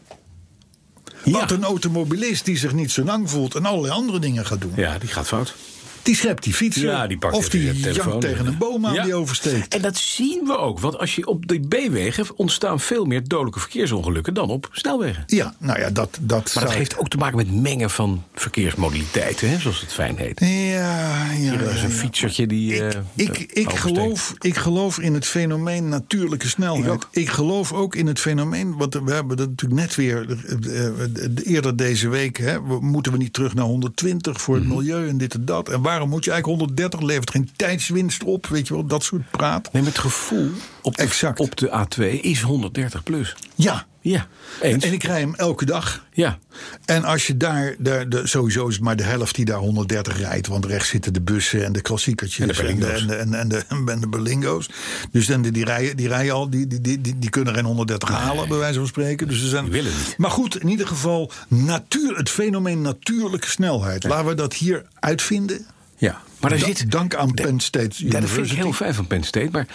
Want een automobilist die zich niet zo lang voelt en allerlei andere dingen gaat doen, Ja, die gaat fout. die schept die fietser. Ja, die pakt of even die de telefoon. jankt tegen een boom aan Ja. die oversteekt. En dat zien we ook, want als je op de B-wegen ontstaan veel meer dodelijke verkeersongelukken dan op snelwegen. Ja, nou ja, dat, dat Maar zou- dat heeft ook te maken met mengen van verkeersmodaliteiten, hè, zoals het fijn heet. Ja, ja, ja, Er is een ja. fietsertje die. Ik, eh, ik, ik, oversteekt. geloof, ik geloof in het fenomeen natuurlijke snelheid. Ik, Ik ook. geloof ook in het fenomeen, want we hebben dat natuurlijk net weer eh, eh, eerder deze week. Hè, we- moeten we niet terug naar 120 voor het Mhm. milieu en dit en dat? En waarom moet je eigenlijk 130 levert geen tijdswinst op? Weet je wel, dat soort praat. Nee, maar het gevoel op de, Exact. op de A2 is 130 plus. Ja. Ja, eens. En ik rij hem elke dag. Ja, En als je daar, daar de, sowieso is het maar de helft die daar 130 rijdt. Want rechts zitten de bussen en de En klassiekertjes. de Berlingo's. En de, en, de- en, de, en, de, en de Berlingo's. Dus dan, die, die, rijden, die rijden al, die, die, die, die, die kunnen geen 130 halen, bij wijze van spreken. Dus ze zijn, Die willen niet. Maar goed, in ieder geval natuur, het fenomeen natuurlijke snelheid. Laten we dat hier uitvinden. ja. Maar daar Da- zit. Dank aan Penn State Ja, dat vind ik University. heel fijn van Penn State. Maar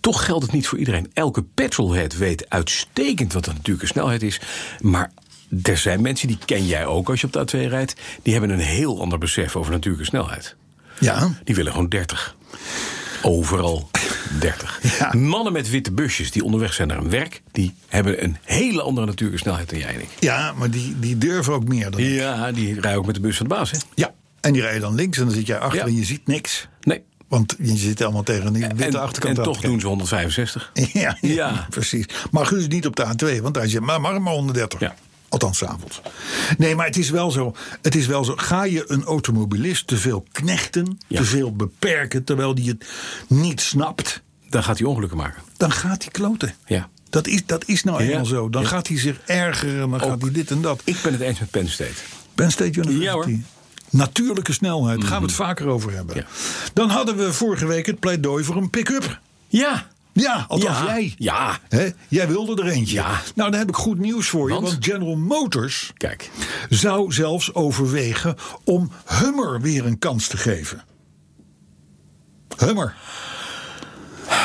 toch geldt het niet voor iedereen. Elke petrolhead weet uitstekend wat de natuurlijke snelheid is. Maar er zijn mensen, die ken jij ook als je op de A2 rijdt. Die hebben een heel ander besef over natuurlijke snelheid. Ja, Die willen gewoon 30. Overal 30. Ja. Mannen met witte busjes die onderweg zijn naar hun werk. Die hebben een hele andere natuurlijke snelheid dan jij en ik. ja maar die, die durven ook meer dan Ja, die rijden ook met de bus van de baas. Hè? Ja. En die rij je dan links en dan zit jij achter Ja. en je ziet niks. Nee. Want je zit allemaal tegen die witte En, achterkant en aan te toch kijken. doen ze 165. Ja, ja, Ja. precies. Maar Guus niet op de A2, want daar is je maar, maar, maar 130. Ja. Althans, 's avonds. Nee, maar het is wel zo. Het is wel zo. Ga je een automobilist te veel knechten, Ja. te veel beperken, terwijl die het niet snapt, Dan gaat hij ongelukken maken. dan gaat hij kloten. Ja. Dat is, dat is nou Ja. eenmaal zo. Dan Ja. gaat hij zich ergeren, dan gaat hij dit en dat. Ik ben het eens met Penn State. Penn State University. Ja, hoor. Mhm. Natuurlijke snelheid, gaan we het vaker over hebben. Ja. Dan hadden we vorige week het pleidooi voor een pick-up. Ja. Ja, althans ja. jij. Ja. Hè? Jij wilde er eentje. Ja. Nou, dan heb ik goed nieuws voor je. Want? Want General Motors Kijk. zou zelfs overwegen om Hummer weer een kans te geven. Hummer.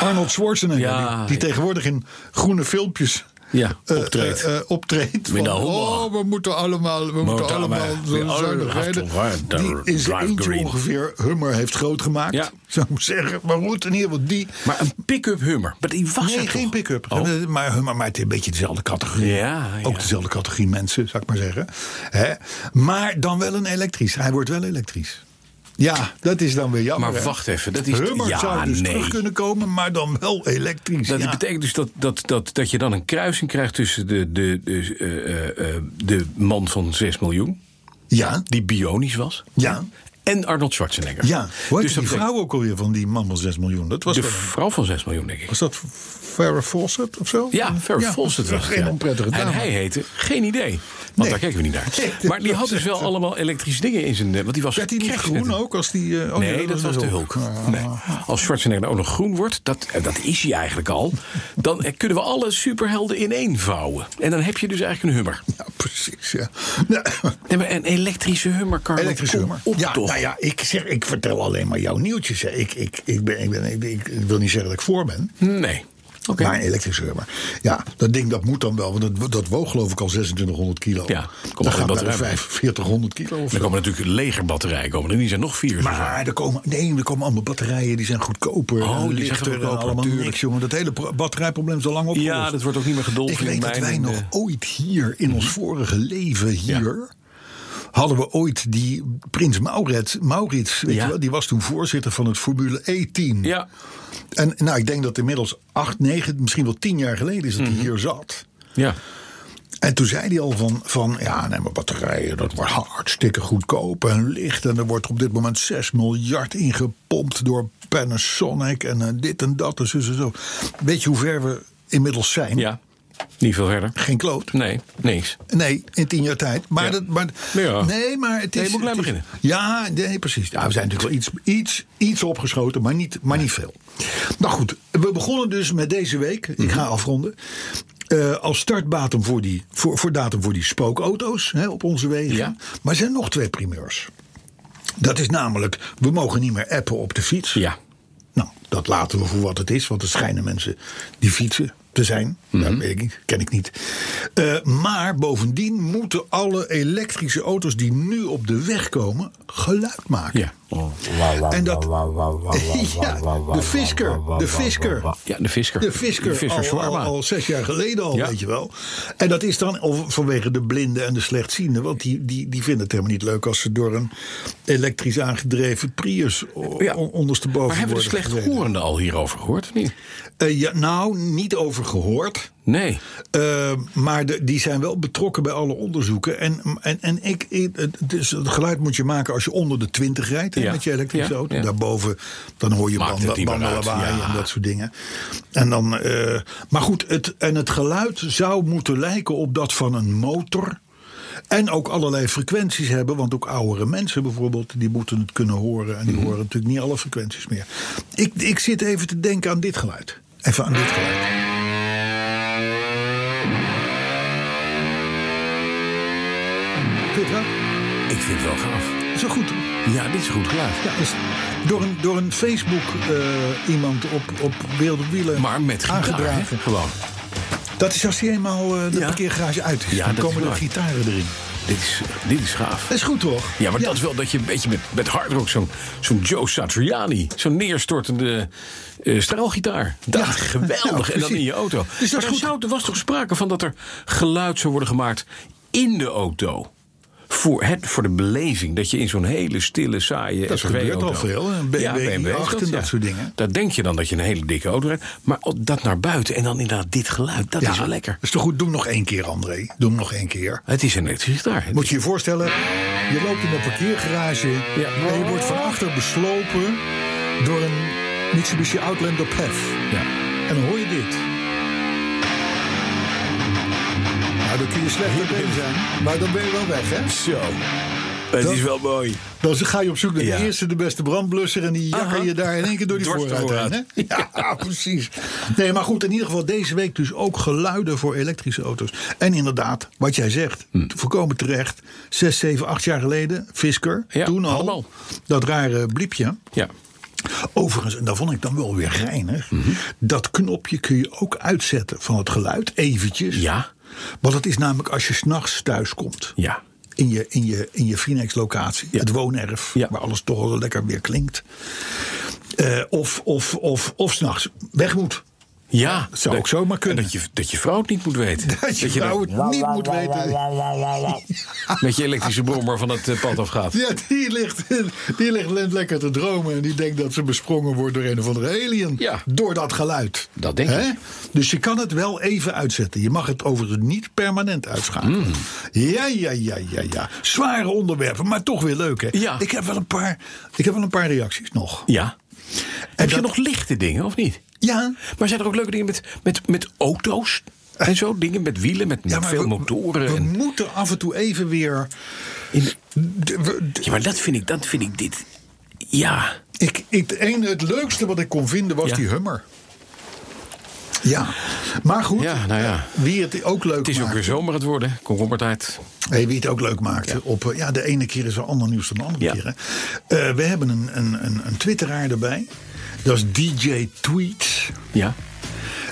Arnold Schwarzenegger, Ja, die, die ja. tegenwoordig in groene filmpjes Ja, eh, optreedt. eh, eh, optreedt Met van, de Hummer. oh, we moeten allemaal, we moeten allemaal allemaal- zo die alle- zuinig rijden. Achtung, hè, Die in zijn drive eentje green. ongeveer Hummer heeft groot gemaakt, Ja. zou ik zeggen. Maar goed, in ieder geval die... Maar een pick-up hummer. Maar die was Nee, er geen toch? pick-up. Oh. Eh, Maar, maar, maar het is een beetje dezelfde categorie. Ja, ja. Ook dezelfde categorie mensen, zou ik maar zeggen. Hè? Maar dan wel een elektrisch. Hij wordt wel elektrisch. Ja, dat is dan weer jammer. Maar hè? wacht even, dat is- Hummer ja, zou dus nee. terug kunnen komen, maar dan wel elektrisch. Dat ja. betekent dus dat, dat, dat, dat je dan een kruising krijgt tussen de, de, de, eh, eh, eh, de man van 6 miljoen, Ja, die bionisch was, ja, en Arnold Schwarzenegger. Dus ja. Hoe heet dat die betekent- vrouw ook alweer van die man van 6 miljoen? Dat was, De wel een- vrouw van 6 miljoen, denk ik. was dat Farrah Fawcett of zo? Ja, Farrah Fawcett was het, Geen ja. onprettige dame. En hij heette, geen idee, want Nee. daar kijken we niet naar. Nee, dat maar die had was dus wel echt- allemaal elektrische dingen in zijn... eh, Want die was Werd hij niet kerstnet- groen ook? Als die, eh, oh, nee, dat was de hulk. Ah. Nee. Als Schwarzenegger nou ook nog groen wordt, dat, eh, dat is hij eigenlijk al... dan eh, kunnen we alle superhelden in één vouwen. En dan heb je dus eigenlijk een hummer. Ja, precies, ja. Nou, Nee, maar een elektrische hummer, Carlo. Elektrische kom hummer. Op, ja, toch? nou ja, ik, zeg, ik vertel alleen maar jouw nieuwtjes. hè. Ik, ik, ik, ben, ik, ben, ik, ik- ik wil niet zeggen dat ik voor ben. Nee. Oké. Maar een elektrische hummer. Ja, dat ding dat moet dan wel. Want dat, dat woog geloof ik al 2600 kilo. Ja, komt dan wel in gaat dat naar de ruim. 4500 kilo of Dan zo. komen natuurlijk legerbatterijen komen. En die zijn nog vier. zo zwaar. Maar er komen, nee, er komen allemaal batterijen die zijn goedkoper. Oh, en die zijn lichter en goedkoper, allemaal tuurlijk. niks, jongen. Dat hele pro- batterijprobleem is al lang opgelost. Ja, dat wordt ook niet meer gedolven Ik weet in dat mijn- Mhm. wij in de- nog ooit hier, in ons vorige leven hier... Hadden we ooit die prins Maurits, Maurits weet Ja. je wel, die was toen voorzitter van het Formule E-team. Ja. En nou, ik denk dat inmiddels acht, negen, misschien wel tien jaar geleden is dat Mhm. hij hier zat. Ja. En toen zei hij al van, van ja, nee, maar batterijen, dat wordt hartstikke goedkoop en licht. En er wordt op dit moment 6 miljard ingepompt door Panasonic en eh, dit en dat en zo, zo, zo. Weet je hoe ver we inmiddels zijn? Ja. Niet veel verder. Geen kloot. Nee, niks. Nee, in tien jaar tijd. Maar Ja. dat, maar, Ja. Nee, maar het is... Nee, je moet klein het is- beginnen. Ja, nee, precies. Ja, we zijn natuurlijk wel iets, iets, iets opgeschoten, maar niet, maar niet veel. Nou goed, we begonnen dus met deze week. Mhm. Ik ga afronden. eh, als startdatum voor die, voor, voor datum voor die spookauto's hè, op onze wegen. Ja. Maar er zijn nog twee primeurs. Dat is namelijk, we mogen niet meer appen op de fiets. Ja. Nou, dat laten we voor wat het is, want er schijnen mensen die fietsen te zijn. Mhm. Dat weet ik niet, ken ik niet. Eh, maar bovendien moeten alle elektrische auto's die nu op de weg komen geluid maken. Ja. En dat. Ja, de Fisker, de Fisker. Ja, de Fisker. De Fisker, De Fisker al, al, Shawarma. al zes jaar geleden al, Ja. weet je wel. En dat is dan of vanwege de blinden en de slechtzienden. Want die, die, die vinden het helemaal niet leuk als ze door een elektrisch aangedreven Prius o- Ja. on- ondersteboven Maar hebben we de worden gereden. slechthorenden al hierover gehoord? Of niet? Eh, ja, nou, niet over gehoord. Nee. Eh, maar de- die zijn wel betrokken bij alle onderzoeken. En, en, en ik, ik- het- dus het geluid moet je maken als je onder de 20 rijdt hè, Ja. met je elektrische Ja, auto. ja. Daarboven dan hoor je Maakt het banden, niet meer uit, bandenlawaai ja. en dat soort dingen. En dan, eh, maar goed, het, en het geluid zou moeten lijken op dat van een motor. En ook allerlei frequenties hebben. Want ook oudere mensen bijvoorbeeld, die moeten het kunnen horen. En Mhm. die horen natuurlijk niet alle frequenties meer. Ik, ik zit even te denken aan dit geluid. Even aan dit geluid. Vind je het wel? Ik vind het wel gaaf. Zo goed. hoor. Ja, dit is goed geluid. Ja, dus door een, door een Facebook eh, iemand op, op Wereld op Wielen Maar met gitaar, hè? aangedragen. Gewoon. Dat is als hij eenmaal eh, de Ja. parkeergarage uit is. Ja, dan dat komen is de waar. gitaren erin. Dit is, dit is gaaf. Dat is goed toch? Ja, maar dat is wel dat je een beetje met, met hard rock zo'n zo'n Joe Satriani, zo'n neerstortende eh straalgitaar. Dat Ja. Nou, geweldig. en dan precies. in je auto. Dus dat is maar er goed. zou- er was toch sprake van dat er geluid zou worden gemaakt in de auto. voor, het, voor de beleving. Dat je in zo'n hele stille, saaie Dat SUV gebeurt auto- al veel, hè? Een BMW BMW is 8 en dat soort dingen. Daar denk je dan dat je een hele dikke auto hebt. Maar op- dat naar buiten en dan inderdaad dit geluid, dat is wel lekker. is toch goed? Doe hem nog één keer, André. Doe hem nog één keer. Het is een elektrische gitaar. Moet je je voorstellen, je loopt in een parkeergarage Ja. en je wordt van achter beslopen door een Mitsubishi Outlander PHEV. Ja. En dan hoor je dit. Nou, dan kun je slecht mee bezig zijn, maar dan ben je wel weg, hè? Zo. Het Dat- is wel mooi. Dan Nou, ga je op zoek naar Ja. de eerste, de beste brandblusser. En die jakken Aha. je daar in één keer door die Dwars de vooruit heen. hè? Ja, precies. Nee, maar goed, in ieder geval deze week dus ook geluiden voor elektrische auto's. En inderdaad, wat jij zegt, Hm. voorkomen terecht. Zes, zeven, acht jaar geleden, Fisker, Ja, toen al. allemaal. Dat rare bliepje. Ja. Overigens, en daar vond ik dan wel weer geinig. Mhm. Dat knopje kun je ook uitzetten van het geluid, eventjes. Ja. Want dat is namelijk als je s'nachts thuis komt Ja. in je, in je, in je Phoenix-locatie, Ja. het woonerf, Ja. waar alles toch wel lekker weer klinkt. Eh, of of, of, of s'nachts weg moet. Ja. zou ook zomaar kunnen. En Dat je, dat je vrouw het niet moet weten. Dat je nou het niet moet weten. Met je elektrische brommer van het eh, pad afgaat. Ja, die ligt, die ligt lekker te dromen. En die denkt dat ze besprongen wordt door een of andere alien. Ja. Door dat geluid. Dat denk Hè? ik. Dus je kan het wel even uitzetten. Je mag het overigens niet permanent uitschakelen. Mm. Ja, ja, ja, ja, ja. Zware onderwerpen, maar toch weer leuk, hè? Ja. Ik heb wel een paar, ik heb wel een paar reacties nog. Ja. Heb je dat- nog lichte dingen, of niet? Ja, Maar zijn er ook leuke dingen met, met, met auto's? En zo, dingen met wielen, met, met ja maar veel we- motoren. We, en- moeten af en toe even weer. De- we- de- ja, maar dat vind ik, dat vind ik dit. Ja, ik, ik, het, ene, het leukste wat ik kon vinden was Ja. die Hummer. Ja, maar goed. eh, Ja, nou ja. Wie het ook leuk het is ook maakte. weer zomer het worden. hè. Komkommertijd. Hey, wie het ook leuk maakte. Op, eh, ja, de ene keer is er ander nieuws dan de andere Ja. keer. Hè. Eh, we hebben een, een, een, een twitteraar erbij. Dat is DJ Tweets. Ja.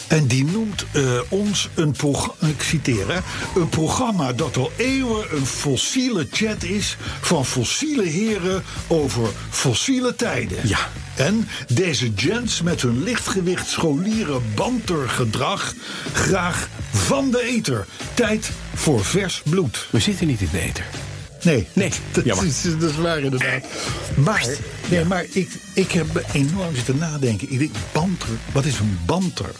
En die noemt eh, ons een, prog- ik citeer, hè, een programma dat al eeuwen een fossiele chat is van fossiele heren over fossiele tijden. Ja. En deze gents met hun lichtgewicht scholieren bantergedrag graag van de eter. Tijd voor vers bloed. We zitten niet in de eter. Nee, Nee, dat, jammer. is, dat is waar inderdaad. Maar, nee, maar ik, ik heb enorm zitten nadenken. Ik denk, banter, wat is een banter?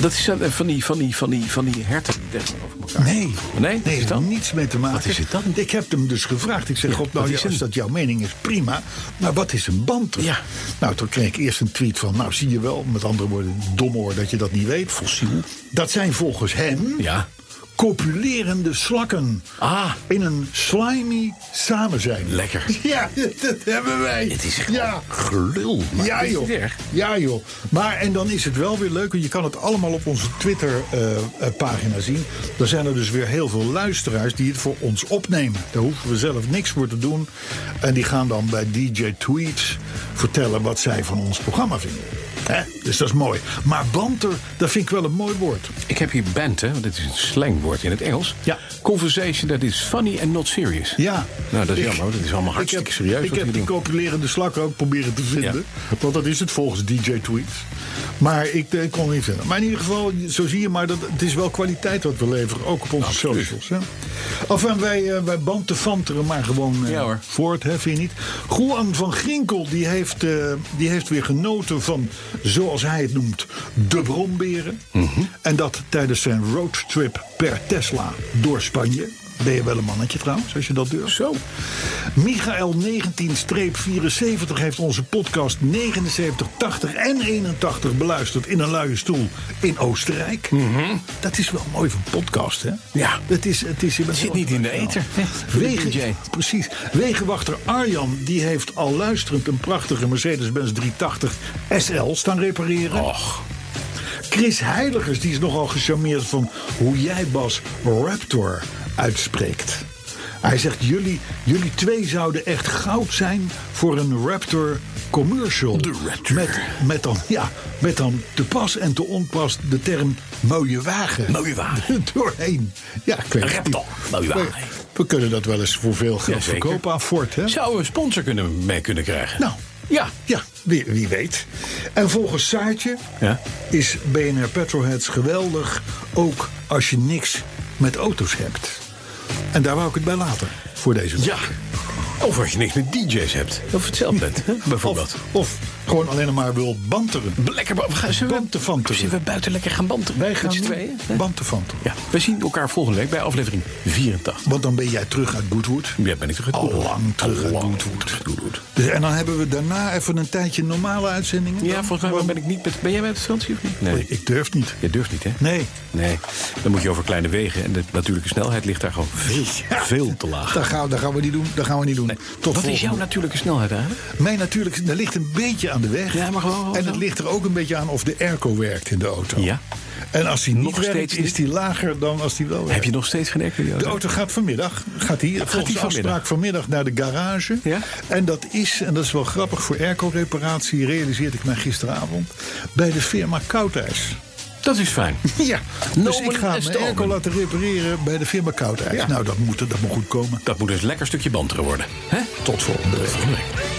Dat is dan, eh, van die, van die, van die, van die herten die tegenover elkaar. Nee. Nee? Is nee heeft dat? niets mee te maken. Wat is het dan? Ik heb hem dus gevraagd. Ik zeg, Ja, God, nou wat ja, is als het? dat jouw mening is, prima. Maar wat is een banter? Ja. Nou, toen kreeg ik eerst een tweet van, nou zie je wel, met andere woorden, domoor dat je dat niet weet. Fossiel. Dat zijn volgens hem Ja. copulerende slakken. Ah. In een slimy samenzijn. Lekker. Ja, dat hebben wij. Het is gewoon ja. gelul. maar Ja het is joh. niet erg. ja joh. Maar en dan is het wel weer leuk. want Je kan het allemaal op onze Twitter eh, eh, pagina zien. Dan zijn er dus weer heel veel luisteraars die het voor ons opnemen. Daar hoeven we zelf niks voor te doen. En die gaan dan bij DJ Tweets vertellen wat zij van ons programma vinden. Hè? Dus dat is mooi. Maar banter, dat vind ik wel een mooi woord. Ik heb hier band, hè, want dit is een slangwoord in het Engels. Ja. Conversation that is funny and not serious. Ja. Nou, dat is Ik- jammer. hoor. Dat is allemaal hartstikke ik heb, serieus. Ik wat heb jullie die doen. copulerende slak ook proberen te vinden. Want dat is het volgens DJ Tweets. Maar ik, eh, kon het niet vinden. Maar in ieder geval, zo zie je maar, dat, het is wel kwaliteit wat we leveren. Ook op onze socials. Hè? Enfin, wij, eh wij bantefanteren maar gewoon eh, Ja, hoor. voort, hè, vind je niet? Juan van Ginkel, die heeft, eh, die heeft weer genoten van, zoals hij het noemt, de bromberen. Mhm. En dat tijdens zijn roadtrip per Tesla door Spanje. Ben je wel een mannetje trouwens, als je dat durft? Zo. Michael 19-74 heeft onze podcast 79, 80 en 81 beluisterd in een luie stoel in Oostenrijk. Dat is wel mooi van podcast, hè? Mhm. Ja. Het, is, het, is, het zit niet in de ether. Wegen, DJ. precies. Wegenwachter Arjan die heeft al luisterend een prachtige Mercedes-Benz 380 SL staan repareren. Och. Chris Heiligers die is nogal gecharmeerd van hoe jij Bas Raptor uitspreekt. Hij zegt, jullie, jullie twee zouden echt goud zijn voor een Raptor commercial. De Raptor. Met, met, dan, ja, met dan te pas en te onpas de term mooie wagen. Mooie wagen. Doorheen. Ja, ik weet het Raptor, niet. mooie wagen. We, we kunnen dat wel eens voor veel geld Jazeker. verkopen aan Ford, hè? Zouden we een sponsor kunnen, mee kunnen krijgen? Nou, Ja. ja, wie, wie weet. En volgens Saartje Ja. is BNR Petrolheads geweldig, ook als je niks met auto's hebt. En daar wou ik het bij laten. voor deze week. Ja. Of als je niks met DJ's hebt. Of hetzelfde bent, hè, bijvoorbeeld. Of, of gewoon alleen maar wil banteren. Lekker, ba- we gaan, zullen, we, Bantenfanteren. zullen we buiten lekker gaan banten? Wij gaan Met z'n nu tweeën. hè? bantenfanteren. Ja, we zien elkaar volgende week bij aflevering 84. Want dan ben jij terug uit Goodwood. Ja, ben ik terug uit Al Goodwood. lang terug uit Al lang Goodwood. terug uit Goodwood. Dus, en dan hebben we daarna even een tijdje normale uitzendingen. Ja, dan? volgens mij Want- ben ik niet met... Ben jij bij het vakantie of niet? Nee, Ik durf niet. Je durft niet, hè? Nee. Nee, dan moet je over kleine wegen. En de natuurlijke snelheid ligt daar gewoon veel, veel te laag. Dat gaan, dat gaan we niet doen. Dat gaan we niet doen. Tot Wat is volgende jouw natuurlijke snelheid eigenlijk? Mijn natuurlijk, dat ligt een beetje aan de weg. Ja, maar gewoon- en het ligt er ook een beetje aan of de airco werkt in de auto. Ja. En als die niet Nog werkt, steeds is niet? die lager dan als die wel werkt. Heb je nog steeds geen airco? in je de auto? auto gaat vanmiddag, gaat die, volgens die de afspraak vanmiddag? vanmiddag naar de garage. Ja. En dat is, en dat is wel grappig voor airco-reparatie, realiseerde ik mij gisteravond, bij de firma Koudijs. Dat is fijn. Ja, dus Nomen ik ga en mijn stomen. airco laten repareren bij de firma Koudijs. Ja. Nou, dat moet, dat moet goed komen. Dat moet dus een lekker stukje banteren worden. Hè? Tot volgende week. Volgende week.